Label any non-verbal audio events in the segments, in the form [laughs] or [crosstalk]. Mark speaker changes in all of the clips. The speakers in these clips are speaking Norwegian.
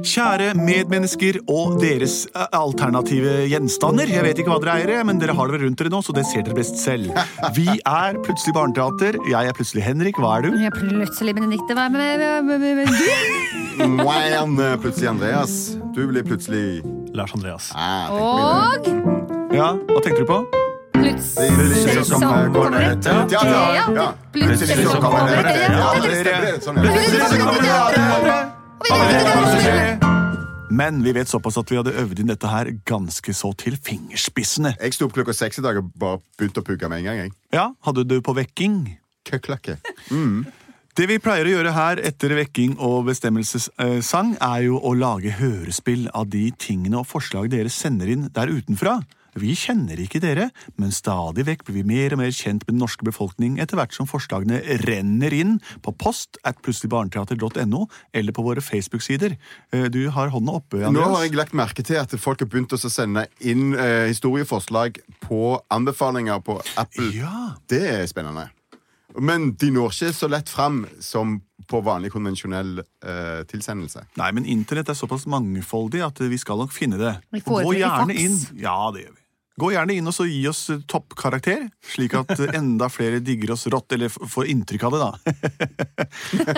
Speaker 1: Kjære medmennesker og deres eh, alternative gjenstander. Jeg vet ikke hva dere eier, men dere har det vel rundt dere nå, så det ser dere best selv. Vi er Plutselig barneteater. Jeg er plutselig Henrik. Hva er du?
Speaker 2: Ja, plutselig, Benedikte. Hva med, med, med, med, med du?
Speaker 3: Wham! Plutselig Andreas. Du blir plutselig
Speaker 1: Lars Andreas.
Speaker 3: ah, tenk på det.
Speaker 2: Og
Speaker 1: Ja, Hva tenkte du på?
Speaker 2: plutselig så kommer det et
Speaker 3: Ja, ja, ja.
Speaker 2: teater. Plutselig så kommer det et
Speaker 3: Ja,
Speaker 2: teater.
Speaker 3: det stemmer. Sånn, ja.
Speaker 2: Plutselig så kommer det et teater. Og vi vet ikke hva som skjer.
Speaker 1: Men vi vet såpass at vi hadde øvd inn dette her ganske så til fingerspissene.
Speaker 3: Jeg sto opp klokka seks i dag og bare begynte å pugge med en gang. jeg.
Speaker 1: Ja, Hadde du på vekking?
Speaker 3: Køklakke.
Speaker 1: Det vi pleier å gjøre her etter vekking og bestemmelsessang, er jo å lage hørespill av de tingene og forslag dere sender inn der utenfra. Vi kjenner ikke dere, men stadig vekk blir vi mer og mer kjent med den norske befolkning etter hvert som forslagene renner inn på post at plutseligbarneteater.no eller på våre Facebook-sider. Eh, Du har hånda oppe,
Speaker 3: Nå har
Speaker 1: Andreas.
Speaker 3: jeg lagt merke til at folk har begynt å sende inn eh, historieforslag på anbefalinger på Apple.
Speaker 1: Ja.
Speaker 3: Det er spennende. Men de når ikke så lett fram som på vanlig konvensjonell eh, tilsendelse.
Speaker 1: Nei, men internett er såpass mangfoldig at vi skal nok finne det.
Speaker 2: Vi
Speaker 1: Og Gå
Speaker 2: foretrekker
Speaker 1: gjerne
Speaker 2: fax.
Speaker 1: inn. Ja, det gjør vi. Gå gjerne inn og så gi oss eh, toppkarakter, slik at
Speaker 2: [laughs]
Speaker 1: eh, enda flere digger oss rått, eller f- får inntrykk av det, da. [laughs]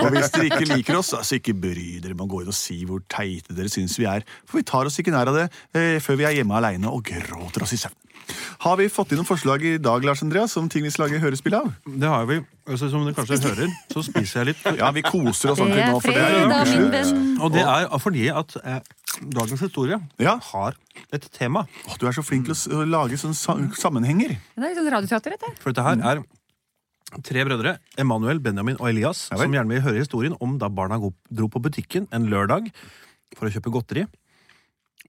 Speaker 1: og hvis dere ikke liker oss, altså ikke bry dere med å gå inn og si hvor teite dere syns vi er, for vi tar oss ikke nær av det eh, før vi er hjemme aleine og gråter oss i søvn. Har vi fått inn noen forslag i dag, Lars Andreas, om ting vi skal lage hørespill av?
Speaker 4: Det har vi. Altså, som du kanskje hører, så spiser jeg litt.
Speaker 1: [laughs] Ja, vi koser oss
Speaker 2: Det
Speaker 1: ordentlig
Speaker 2: er
Speaker 1: sånn nå. for det er jo
Speaker 2: fredag,
Speaker 1: ukeslutt.
Speaker 2: min venn.
Speaker 4: Og det er fordi at eh, dagens historie
Speaker 1: Ja.
Speaker 4: har et tema.
Speaker 1: Å, du er så flink til å s- å lage sånne sa- sammenhenger.
Speaker 2: Det er litt sånn radioteater, dette.
Speaker 4: For dette her er tre brødre, Emanuel, Benjamin og Elias,
Speaker 1: Ja vel.
Speaker 4: som gjerne vil høre historien om da barna go- dro på butikken en lørdag for å kjøpe godteri.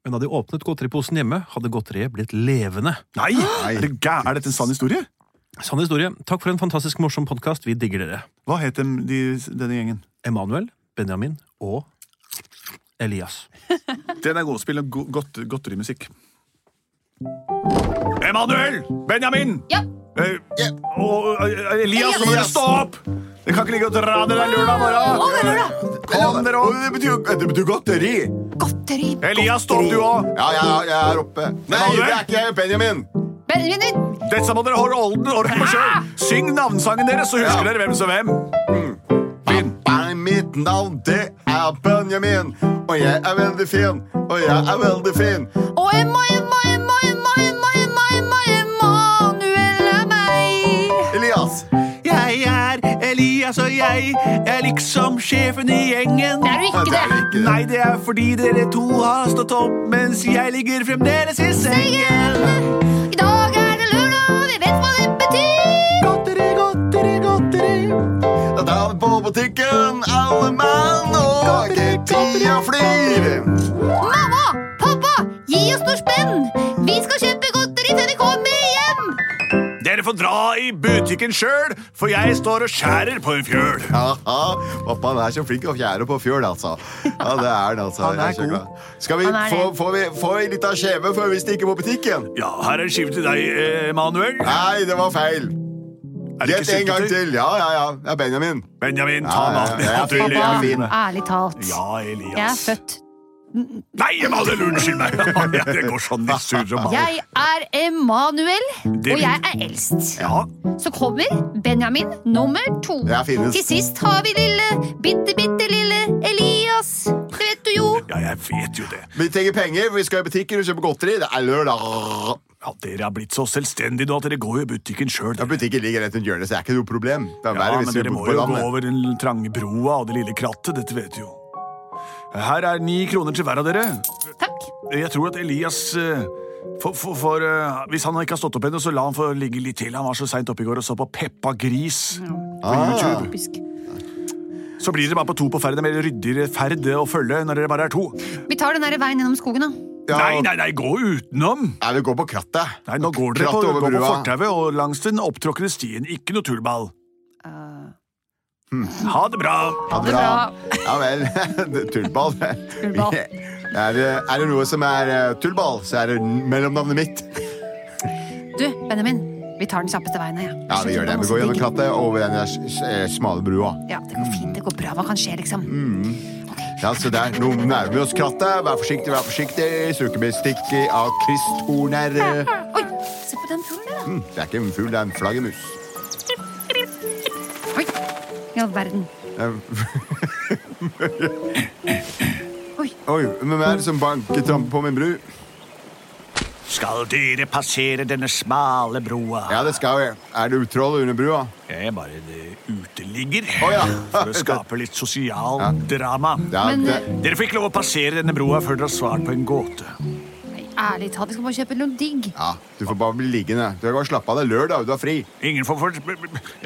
Speaker 4: Men da de åpnet godteriposen hjemme, hadde godteriet blitt levende.
Speaker 1: Nei! Er, det gæ- er dette en sann historie?
Speaker 4: Sann historie. Takk for en fantastisk morsom podkast. Vi digger dere.
Speaker 1: Hva het dem, de, denne gjengen?
Speaker 4: Emanuel, Benjamin og Elias.
Speaker 1: Den er god spill og go godt, godterimusikk. Emanuel! Benjamin!
Speaker 2: Ja.
Speaker 1: Eh, Og eh, Elias, nå må dere
Speaker 3: Elias!
Speaker 1: stå opp! Dere kan ikke ligge og dra dere der lørdag morgen. Kom dere
Speaker 3: Å,
Speaker 1: opp!
Speaker 3: Det betyr, jo- det betyr godteri!
Speaker 2: Godteri.
Speaker 1: Elias, stå opp du òg!
Speaker 3: Ja, ja, jeg er oppe. Nei, det er ikke jeg, Benjamin!
Speaker 2: Benjamin,
Speaker 1: Dette må dere holde orden orden på sjøl. Syng navnesangen deres, så husker
Speaker 3: Ja.
Speaker 1: dere hvem som hvem.
Speaker 3: Nei, mitt navn det er Benjamin, og jeg er veldig fin, og jeg er veldig fin.
Speaker 2: Og Emma, Emma, Emma, Emma, Emma, Emma, Emma, Emanuel er meg.
Speaker 3: Elias.
Speaker 1: Jeg er Elias, og jeg er liksom sjefen i gjengen.
Speaker 2: Det er du
Speaker 3: Ja,
Speaker 2: ikke,
Speaker 3: det er
Speaker 2: det.
Speaker 3: ikke det.
Speaker 1: Nei, det er fordi dere to har stått opp mens jeg ligger fremdeles i sengen.
Speaker 2: I dag er det lørdag, og vi vet hva det betyr.
Speaker 1: Godteri, godteri, godteri.
Speaker 3: Da er vi på butikken, alle mann, og ikke tida flyr.
Speaker 2: Mamma, pappa, gi oss noe spenn. Vi skal kjøpe godteri til de kommer hjem.
Speaker 1: Dere får dra i butikken sjøl, for jeg står og skjærer på en fjøl.
Speaker 3: Haha, Pappa han er så flink å fjære på fjøl, altså. Ja, det er [laughs] han, altså.
Speaker 1: Han er
Speaker 3: Jeg så
Speaker 1: god.
Speaker 3: glad. Skal vi
Speaker 2: Han er
Speaker 3: få,
Speaker 2: det.
Speaker 3: få, vi, få ei lita skjeve før vi stikker på butikken?
Speaker 1: Ja, her er en skive til deg, Emanuel.
Speaker 3: Nei, det var feil.
Speaker 1: Er det ikke
Speaker 3: Gjett en gang
Speaker 1: syltetøy?
Speaker 3: til. Ja, ja, ja. Det er Benjamin.
Speaker 1: Benjamin, ta
Speaker 3: Ja, ja,
Speaker 1: maten.
Speaker 3: ja, ja,
Speaker 1: Ja, til
Speaker 3: pappa.
Speaker 1: Elias.
Speaker 3: fin.
Speaker 2: ærlig talt.
Speaker 1: Ja, Elias.
Speaker 2: Jeg er født.
Speaker 1: Nei, Emanuel, unnskyld meg! [laughs] Ja, Det går sånn i surr og ball.
Speaker 2: Jeg er Emanuel,
Speaker 1: Det-
Speaker 2: og jeg er eldst.
Speaker 1: Ja.
Speaker 2: Så kommer Benjamin nummer to.
Speaker 3: Jeg finnes.
Speaker 2: Til sist har vi lille, bitte, bitte lille Elias. Det vet du jo.
Speaker 1: ja, jeg vet jo det.
Speaker 3: Vi trenger penger, for vi skal i butikken og kjøpe godteri. Det er lørdag.
Speaker 1: Ja, Dere har blitt så selvstendige nå at dere går jo i butikken sjøl.
Speaker 3: Ja, butikken ligger rett rundt hjørnet, så det er ikke noe problem. Det er verre
Speaker 1: Ja, men
Speaker 3: hvis vi
Speaker 1: dere
Speaker 3: bor
Speaker 1: må
Speaker 3: på
Speaker 1: jo gå
Speaker 3: landet.
Speaker 1: over den trange broa og det lille krattet, dette vet du jo. Her er ni kroner til hver av dere.
Speaker 2: Takk.
Speaker 1: Jeg tror at Elias eh, for, for, for, eh, Hvis han ikke har stått opp ennå, så la han få ligge litt til. Han var så seint oppe i går og så på Peppa Gris.
Speaker 3: Ah,
Speaker 2: Typisk.
Speaker 1: Så blir dere bare på to på ferd. Det er mer ryddigere ferd eh, å følge når dere bare er to.
Speaker 2: Vi tar den der veien gjennom skogen, da.
Speaker 3: Ja,
Speaker 1: Nei, nei, nei, gå utenom!
Speaker 3: Nei, vi går på krattet.
Speaker 1: Nei, nå går dere på,
Speaker 3: Krattet
Speaker 1: gå
Speaker 3: over
Speaker 1: på
Speaker 3: brua.
Speaker 1: fortauet og langs den opptråkkede stien. Ikke noe tullball. Ha det bra!
Speaker 3: Ha det
Speaker 2: bra.
Speaker 3: Ja vel. [laughs] Tullball. [laughs]
Speaker 2: Tullball.
Speaker 3: Er, det- er det noe som er eh, tullball, så er det mellomnavnet mitt.
Speaker 2: Du, Benjamin, vi tar den kjappeste veien her. Ja.
Speaker 3: Ja, vi gjør det. Vi går gjennom krattet over den der s- s- eh, smale brua.
Speaker 2: Ja, det går fint. Det går bra. Hva kan skje, liksom?
Speaker 3: Mm. Ja, se der. Nå nærmer vi oss krattet. Vær forsiktig, vær forsiktig. Så du ikke blir stikket av kristtorner.
Speaker 2: Oi, se på den fuglen der, da.
Speaker 3: Hm, Det er ikke en fugl, det er en flaggermus.
Speaker 2: Oi, i all verden. [laughs] Oi,
Speaker 3: Oi, hvem er det som banker trampe på min bru?
Speaker 1: Skal dere passere denne smale broa?
Speaker 3: Ja, det skal jeg. Er det utroll under brua?
Speaker 1: Jeg er bare en uteligger
Speaker 3: ja.
Speaker 1: for å skape litt sosial drama.
Speaker 3: Ja,
Speaker 2: Men, eh,
Speaker 3: det,
Speaker 1: Dere får ikke lov å passere denne broa før dere har svart på en gåte.
Speaker 2: nei, ærlig talt, vi skal bare kjøpe noe digg.
Speaker 3: ja, du får bare bli liggende. Du kan bare slappe av deg lørdag, du har fri.
Speaker 1: Ingen får for... Ja,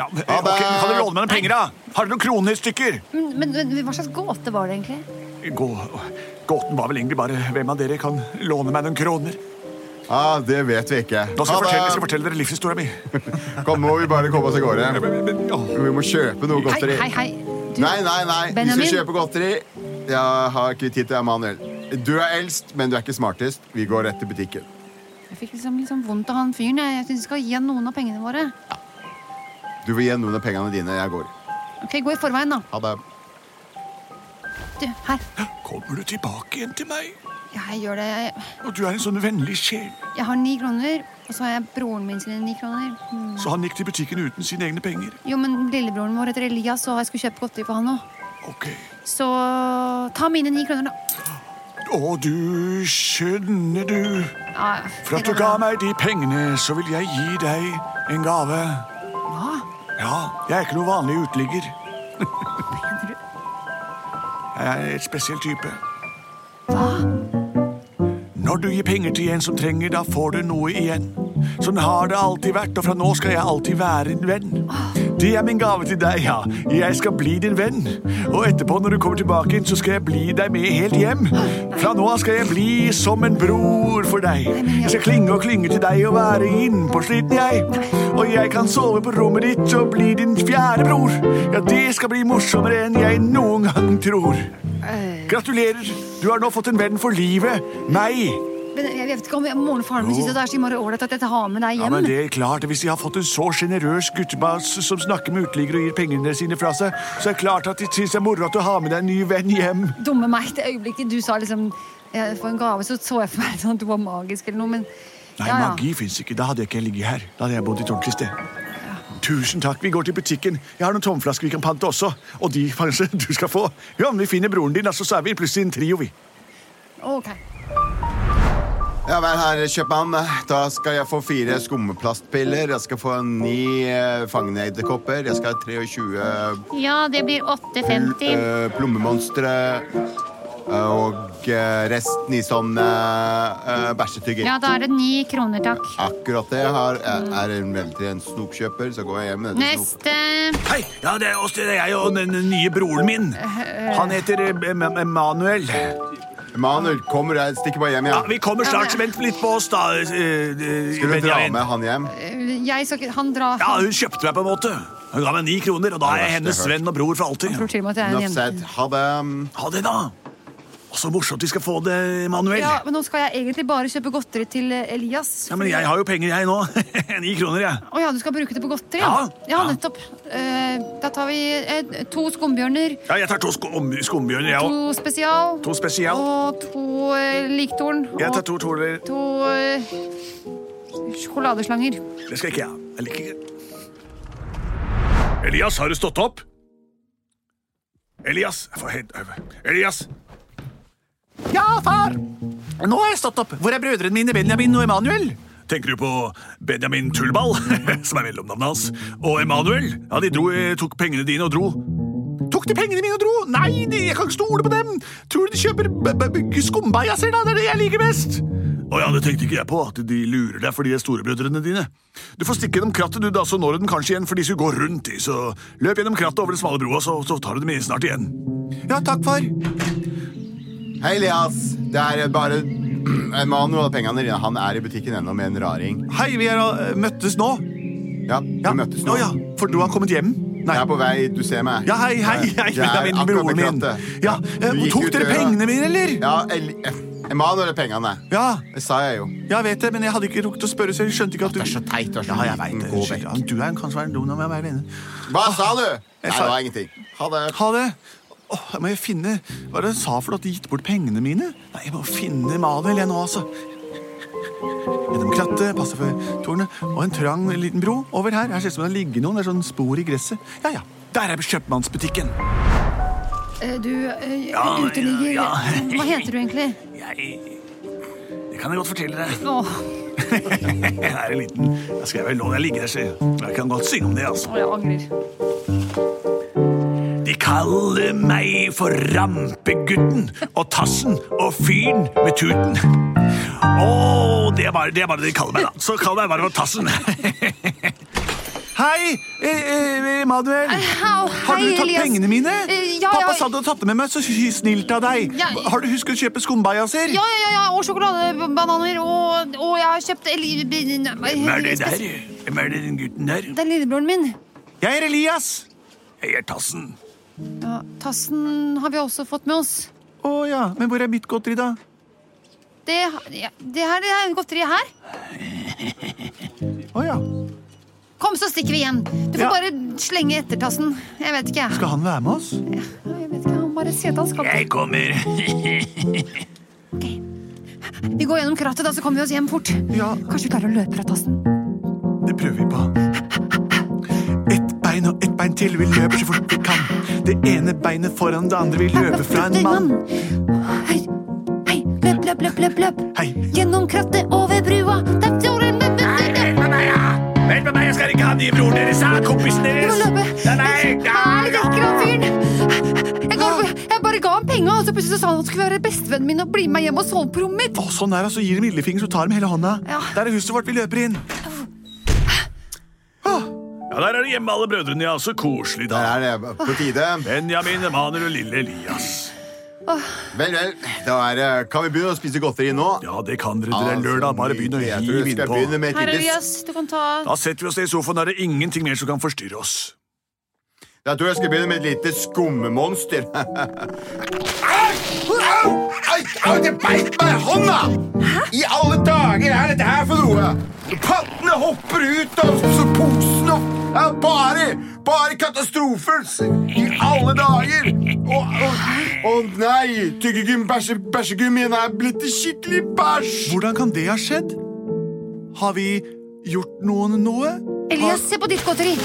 Speaker 1: eh, ok,
Speaker 3: Ha det!
Speaker 1: kan du låne meg noen penger, da? Har du noen kroner i stykker?
Speaker 2: Men, men, men hva slags gåte var det egentlig?
Speaker 1: Gå... Gåten var vel egentlig bare hvem av dere kan låne meg noen kroner.
Speaker 3: Ja, det vet vi ikke.
Speaker 1: Nå skal jeg
Speaker 3: Ha
Speaker 1: fortelle, jeg
Speaker 3: det.
Speaker 1: skal fortelle dere livshistorien min.
Speaker 3: Kom, nå må vi bare komme oss av gårde.
Speaker 1: Men- men- ja.
Speaker 3: Vi må kjøpe noe
Speaker 2: Hei,
Speaker 3: godteri.
Speaker 2: hei, hei. Du,
Speaker 3: Nei, nei, nei. Vi
Speaker 2: Benjamin?
Speaker 3: skal kjøpe godteri. Jeg har ikke tid til Emanuel. Du er eldst, men du er ikke smartest. Vi går rett til butikken.
Speaker 2: Jeg fikk liksom, liksom vondt av han fyren. Jeg, jeg syns vi skal gi han noen av pengene våre.
Speaker 3: Du får gi noen av pengene dine. Jeg går.
Speaker 2: Ok, Gå i forveien, da.
Speaker 3: Ha det.
Speaker 2: Du, her.
Speaker 1: Kommer du tilbake igjen til meg?
Speaker 2: Ja, jeg gjør det. Jeg,
Speaker 1: Og du er en sånn vennlig sjel.
Speaker 2: jeg har ni kroner, og så har jeg broren min sine ni kroner. Mm.
Speaker 1: Så han gikk til butikken uten sine egne penger.
Speaker 2: Jo, men lillebroren vår heter Elias, og jeg skulle kjøpe godteri på han òg.
Speaker 1: Ok.
Speaker 2: Så ta mine ni kroner, da.
Speaker 1: Å, du skjønner du.
Speaker 2: Ja,
Speaker 1: For at
Speaker 2: det
Speaker 1: du
Speaker 2: går
Speaker 1: ga
Speaker 2: bra.
Speaker 1: meg de pengene, så vil jeg gi deg en gave.
Speaker 2: Hva?
Speaker 1: Ja, jeg er ikke noe vanlig uteligger. [laughs]
Speaker 2: Mener du-
Speaker 1: Jeg er et spesiell type.
Speaker 2: Hva?
Speaker 1: Når du gir penger til en som trenger, da får du noe igjen. Sånn har det alltid vært, og fra nå skal jeg alltid være en venn. Det er min gave til deg, ja. Jeg skal bli din venn. Og etterpå, når du kommer tilbake igjen, så skal jeg bli deg med helt hjem. Fra nå av skal jeg bli som en bror for deg. Jeg skal klinge og klinge til deg og være innpåsliten, jeg. Og jeg kan sove på rommet ditt og bli din fjerde bror. Ja, det skal bli morsommere enn jeg noen gang tror. Gratulerer! Du har nå fått en venn for livet. Meg!
Speaker 2: Men jeg vet ikke om jeg- moren og faren min syns det er så innmari ålreit at jeg har med deg
Speaker 1: Ja,
Speaker 2: hjem.
Speaker 1: men det er klart, Hvis de har fått en så sjenerøs guttebass som snakker med uteliggere og gir pengene sine fra seg, så er det klart at de syns det er moro at du har med deg en ny venn hjem.
Speaker 2: Dumme meg, det øyeblikket du sa liksom jeg får en gave, så så jeg for meg sånn at du var magisk eller noe, men
Speaker 1: Nei,
Speaker 2: ja, ja.
Speaker 1: magi fins ikke. Da hadde jeg ikke ligget her. Da hadde jeg bodd i et ordentlig sted. Tusen takk. Vi går til butikken. Jeg har noen tomflasker vi kan pante også. Og de [laughs] kanskje du skal få. Ja, Om vi finner broren din, altså, så er vi plutselig en trio, vi.
Speaker 2: Ok.
Speaker 3: Ja, vær her, kjøpmann. Da skal jeg få fire skummeplastpiller. Jeg skal få ni eh, fangende edderkopper. Jeg skal ha 23
Speaker 5: Ja, det blir 8,50.
Speaker 3: eh, plommemonstre. Og eh, resten i sånn eh, eh, bæsjetygger.
Speaker 5: Ja, da er det ni kroner, takk.
Speaker 3: Akkurat det. Jeg har, jeg er en veldig en snopkjøper, så går jeg hjem med en snop.
Speaker 5: Neste.
Speaker 1: Hei! Ja, det er oss, det er jeg og den den nye broren min. Han heter eh, Em- Em- Emanuel.
Speaker 3: Manuel, kommer jeg stikker bare hjem
Speaker 1: Ja,
Speaker 3: igjen.
Speaker 1: vi kommer straks. Vent litt på oss, da. eh, eh,
Speaker 3: Skal du dra
Speaker 1: Benjamin.
Speaker 3: med han hjem?
Speaker 2: Eh, Jeg skal ikke Han drar
Speaker 1: Ja, hun kjøpte meg på en måte. Hun ga meg ni kroner, og da er jeg
Speaker 3: Det er
Speaker 1: hennes
Speaker 3: verst jeg har
Speaker 1: venn og bror for alltid.
Speaker 2: tror til og med at jeg er en
Speaker 3: Enough
Speaker 2: jente.
Speaker 3: said. Ha det.
Speaker 1: Ha det, da. Og så morsomt vi skal få det, Manuel.
Speaker 2: Ja, men nå skal jeg egentlig bare kjøpe godteri til eh, Elias.
Speaker 1: Ja, men jeg har jo penger, jeg nå. [laughs] Ni kroner, jeg.
Speaker 2: Å ja, du skal bruke det på godteri?
Speaker 1: Ja.
Speaker 2: ja
Speaker 1: Ja.
Speaker 2: nettopp. Eh, da tar vi eh, to skumbjørner,
Speaker 1: Ja, jeg tar to skum skumbjørner, jeg òg.
Speaker 2: to spesial
Speaker 1: To spesial.
Speaker 2: og to eh, liktorn.
Speaker 1: Jeg
Speaker 2: og
Speaker 1: tar to toler.
Speaker 2: to eh, sjokoladeslanger.
Speaker 1: Det skal ikke jeg. Jeg liker ikke Elias, har du stått opp? Elias jeg får helt øve. Elias! Ja, far! Nå har jeg stått opp. Hvor er brødrene mine, Benjamin og Emanuel? Tenker du på Benjamin Tullball, [laughs] som er mellomnavnet hans, og Emanuel? Ja, de dro, eh, tok pengene dine og dro. Tok de pengene mine og dro? Nei, de, jeg kan ikke stole på dem! Tror du de kjøper b- b- b- skumbajaser, da? Det er det jeg liker best! Å ja, det tenkte ikke jeg på, at de lurer deg fordi de er storebrødrene dine. Du får stikke gjennom krattet, du, da, så når du den kanskje igjen, for de skulle gå rundt, de, så løp gjennom krattet over den smale broa, så, så tar du dem snart igjen. Ja, takk, far.
Speaker 3: Hei, Elias. Det er bare [clears throat] Emanuel og pengene dine. Han er i butikken ennå med en raring.
Speaker 1: Hei, vi er eh, møttes nå.
Speaker 3: Ja, vi møttes nå.
Speaker 1: Å ja, for du har kommet hjem? Nei.
Speaker 3: Jeg er på vei. Du ser meg.
Speaker 1: Ja, hei, hei, hei,
Speaker 3: Jeg er
Speaker 1: min,
Speaker 3: akkurat ved
Speaker 1: broren min.
Speaker 3: krattet.
Speaker 1: Ja, eh,
Speaker 3: Du gikk
Speaker 1: tok
Speaker 3: ut
Speaker 1: dere
Speaker 3: døra.
Speaker 1: pengene mine, eller?
Speaker 3: Ja, El Emanuel og pengene.
Speaker 1: Ja,
Speaker 3: Det sa jeg jo.
Speaker 1: jeg vet det, men jeg hadde ikke rukket å spørre, så jeg skjønte ikke at du
Speaker 3: Det er så teit. Du er så
Speaker 1: Ja, jeg vet
Speaker 3: liten.
Speaker 1: det.
Speaker 3: Gå
Speaker 1: Unnskyld.
Speaker 3: vekk.
Speaker 1: Ja, Du er en- kanskje være en dum av meg, jeg mener.
Speaker 3: Hva sa du? Nei,
Speaker 1: sa-
Speaker 3: det var ingenting. Ha det.
Speaker 1: Ha det. Åh, jeg må jo finne Hva er det jeg sa for noe? At de gitt bort pengene mine? Nei, jeg må finne Manuel, jeg nå, altså. Gjennom krattet, passe for tårnet, og en trang liten bro over her. Her ser det ut som det har ligget noen. Det er sånn spor i gresset. Ja, ja. Der er kjøpmannsbutikken.
Speaker 2: Eh, Du, eh,
Speaker 1: Ja,
Speaker 2: uteligger
Speaker 5: [laughs]
Speaker 1: ja, ja.
Speaker 2: Hva heter du egentlig?
Speaker 1: Jeg Det kan jeg godt fortelle deg.
Speaker 5: Åh,
Speaker 1: [laughs] Jeg er en liten Jeg skal vel låne deg ligge der, se. Jeg kan godt synge om det, altså.
Speaker 5: jeg angrer.
Speaker 1: De kaller meg for rampegutten og tassen og fyren med tuten. Å, det er bare det er bare det de kaller meg, da. Så kall meg bare for tassen. [laughs] Hei, Manuel.
Speaker 5: Au,
Speaker 1: Har du
Speaker 5: Eh, hei,
Speaker 1: tatt
Speaker 5: Elias.
Speaker 1: pengene mine?
Speaker 5: Eh, ja, ja.
Speaker 1: Pappa sa du hadde tatt det med meg, så hy- snilt av deg.
Speaker 5: Ja.
Speaker 1: Har du husket å kjøpe skumbajaser?
Speaker 5: Ja, ja, ja, ja, og sjokoladebananer, og, og jeg har kjøpt el-
Speaker 1: Hvem er det der? Hvem er det den gutten der?
Speaker 5: Det er lillebroren min.
Speaker 1: Jeg er Elias. Jeg er Tassen.
Speaker 5: Ja, tassen har vi også fått med oss.
Speaker 1: Å ja, men hvor er mitt godteri, da?
Speaker 5: Det, ja, det her det er godteriet her.
Speaker 1: Å ja.
Speaker 5: Kom, så stikker vi igjen. Du får
Speaker 1: Ja.
Speaker 5: bare slenge etter tassen. Jeg vet ikke, jeg.
Speaker 1: Skal han være med oss?
Speaker 5: Ja, Jeg vet ikke, han bare sier at han skal
Speaker 1: Jeg kommer.
Speaker 5: Vi går gjennom krattet, da, så kommer vi oss hjem fort.
Speaker 1: Ja,
Speaker 5: Kanskje vi klarer å løpe fra tassen.
Speaker 1: [laughs] det prøver vi på. Ett bein og ett bein til, vi løper så fort vi kan. Det ene beinet foran det andre, vi løper fra en mann.
Speaker 2: Hei, hei, løp, løp, løp, løp, løp.
Speaker 1: Hei.
Speaker 2: Gjennom krattet, over brua. Der står en løp, løp, løp, løp.
Speaker 1: Vent med meg, jeg skal ikke ha nye broren deres, jeg er kompisen
Speaker 2: Du må løpe. Nei, det er ikke han fyren. Jeg, ga, jeg bare ga ham penga, og så plutselig så sa han at han skulle være bestevennen min og bli med meg hjem og sove på rommet mitt.
Speaker 1: Å, sånn er det, så gir de lillefinger, så tar de hele hånda.
Speaker 2: Ja.
Speaker 1: Der er huset vårt, vi løper inn. Ja, der er det hjemme alle brødrene, ja. Så koselig,
Speaker 3: Der er det på tide.
Speaker 1: Benjamin, Emanuel og lille Elias.
Speaker 3: Vel, vel. Da er det Kan vi begynne å spise godteri nå?
Speaker 1: Ja, det kan dere.
Speaker 3: Jeg tror jeg skal begynne med
Speaker 5: Her,
Speaker 3: Tiddis.
Speaker 5: Elias, du kan ta
Speaker 1: Da setter vi oss ned i sofaen, da er det ingenting mer som kan forstyrre oss.
Speaker 3: Jeg tror jeg skal begynne med et lite skummemonster. [laughs] Au! Au! Au, det beit meg i hånda! I alle dager er dette her for noe? Pattene hopper ut av så posen og ja, Bare bare katastrofer s- i alle dager. Å nei! Tyggegum, bæsje, bæsjegummien er blitt til skikkelig bæsj.
Speaker 1: Hvordan kan det ha skjedd? Har vi gjort noen noe?
Speaker 5: Elias, se på ditt godteri.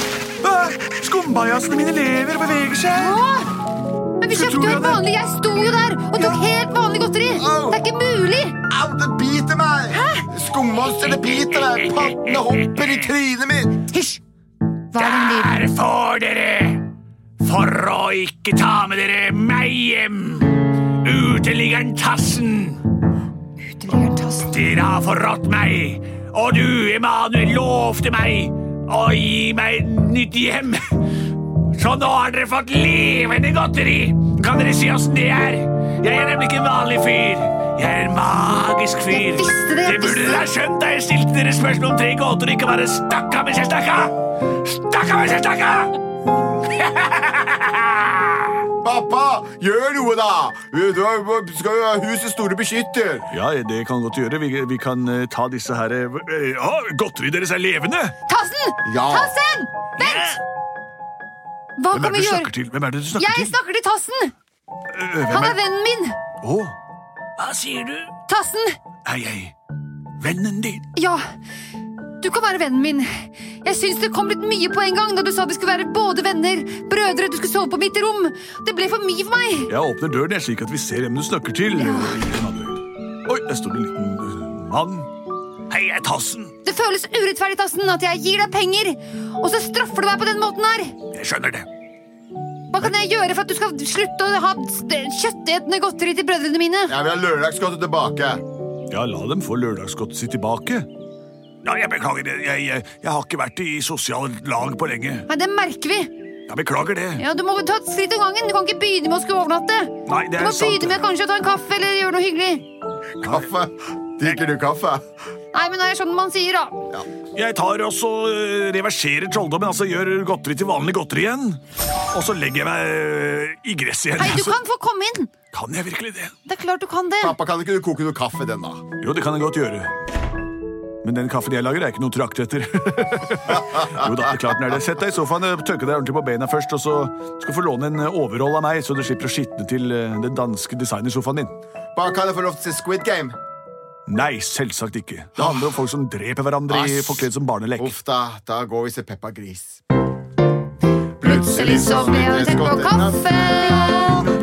Speaker 1: Ah, Skumbajasene mine lever og beveger seg!
Speaker 5: Åh! Men vi
Speaker 1: Så tror
Speaker 5: kjøpte jo
Speaker 1: jeg
Speaker 5: et
Speaker 1: det-
Speaker 5: vanlig. Jeg sto jo der og tok helt vanlig godteri.
Speaker 3: Au.
Speaker 5: Det er ikke mulig.
Speaker 3: Au, det biter meg! Skummonster, det biter meg! Pattene hopper i trynet mitt!
Speaker 5: Hysj! Hva er den lyden?
Speaker 1: Her får dere! For å ikke ta med dere meg hjem! Uteliggeren Tassen!
Speaker 5: Ytterligere tass.
Speaker 1: Dere har forrådt meg! Og du, Emanuel, lovte meg å gi meg et nytt hjem! Så nå har dere fått levende godteri! Kan dere si åssen det er? Jeg er nemlig ikke en vanlig fyr. Jeg er en magisk fyr.
Speaker 5: Jeg visste det, jeg
Speaker 1: burde
Speaker 5: visste
Speaker 1: dere
Speaker 5: det.
Speaker 1: ha skjønt da jeg stilte dere spørsmål om tre gåter, ikke bare stakka mens jeg stakka! Stakka mens jeg stakka!
Speaker 3: Pappa, gjør noe, da! Vi du har- vi skal jo ha husets store beskytter.
Speaker 1: Ja, det kan godt gjøre. Vi, kan eh, ta disse her Ja, godteriet deres er levende!
Speaker 5: Tassen!
Speaker 3: Ja.
Speaker 5: Tassen! Vent! Hva kan vi gjøre?
Speaker 1: til? Eh, Hvem er det du
Speaker 5: Jeg snakker til Tassen! Han er vennen min!
Speaker 1: Hva sier du?
Speaker 5: Tassen!
Speaker 1: Hei, hei. Vennen din.
Speaker 5: Ja, du kan være vennen min. Jeg syns det kom litt mye på en gang da du sa vi skulle være både venner, brødre, du skulle sove på mitt rom. Det ble for mye for meg.
Speaker 1: Jeg åpner døren jeg, slik at vi ser hvem du snakker til. Emanuel. Oi, der står det en liten uh, mann. Hei, jeg er Tassen.
Speaker 5: Det føles urettferdig, Tassen, at jeg gir deg penger, og så straffer du meg på den måten her.
Speaker 1: Jeg skjønner det.
Speaker 5: Hva kan jeg gjøre for at du skal slutte å ha s- kjøttetende godteri til brødrene mine?
Speaker 3: Jeg vil ha lørdagsgodtet tilbake.
Speaker 1: Ja, la dem få lørdagsgodtet sitt tilbake. Nei, jeg beklager det. Jeg, jeg, jeg har ikke vært i sosiale lag på lenge.
Speaker 2: Nei, det merker vi.
Speaker 1: Jeg beklager det.
Speaker 2: Ja, Du må ta et skritt om gangen. Du kan ikke begynne med å skulle overnatte.
Speaker 1: Nei, det
Speaker 2: Du
Speaker 1: er
Speaker 2: må
Speaker 1: sant.
Speaker 2: begynne med kanskje å ta en kaffe eller gjøre noe hyggelig.
Speaker 3: Kaffe. Drikker du kaffe?
Speaker 2: Nei, men det er sånn man sier, da.
Speaker 1: Jeg tar også øh, reverserer trolldommen, altså gjør godteri til vanlig godteri igjen. Og så legger jeg meg øh, i gresset igjen.
Speaker 2: Hei, du
Speaker 1: altså.
Speaker 2: kan få komme inn.
Speaker 1: Kan jeg virkelig det?
Speaker 2: Det er klart du kan det.
Speaker 3: Pappa, kan ikke du koke noe kaffe den, da?
Speaker 1: Jo, det kan jeg godt gjøre. Men den kaffen jeg lager, er ikke noe trakt [laughs] etter. jo da, det er klart den er det. Sett deg i sofaen, øh, tørke deg ordentlig på beina først, og så skal du få låne en øh, overroll av meg, så du slipper å skitne til øh, den danske designersofaen din.
Speaker 3: Bare kan jeg få lov til å se Squid Game?
Speaker 1: Nei, selvsagt ikke. Det handler om folk som dreper hverandre i
Speaker 3: Ass.
Speaker 1: forkledd som barnelek.
Speaker 3: Uff da, da går vi og ser Peppa Gris.
Speaker 2: Plutselig så ble han tett på kaffe.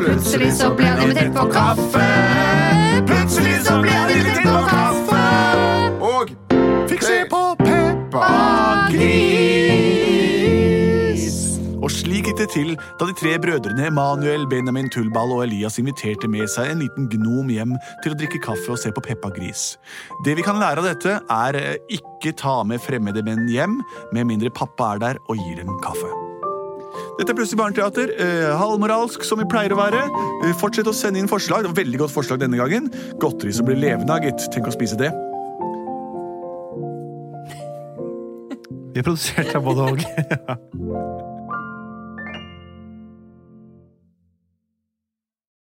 Speaker 2: Plutselig så ble han invitert på kaffe. Plutselig så ble han invitert på kaffe.
Speaker 3: Og
Speaker 1: Fikk se på Peppa Gris. Og slik gikk det til da de tre brødrene Emanuel, Benjamin Tullball og Elias inviterte med seg en liten gnom hjem til å drikke kaffe og se på Peppa Gris. Det vi kan lære av dette, er eh, ikke ta med fremmede menn hjem, med mindre pappa er der og gir dem kaffe. Dette er Plutselig barneteater. eh, halvmoralsk, som vi pleier å være. Eh, fortsett å sende inn forslag. Det var Veldig godt forslag denne gangen. Godteri som blir levende av, gitt. Tenk å spise det.
Speaker 4: Vi har produsert av både og.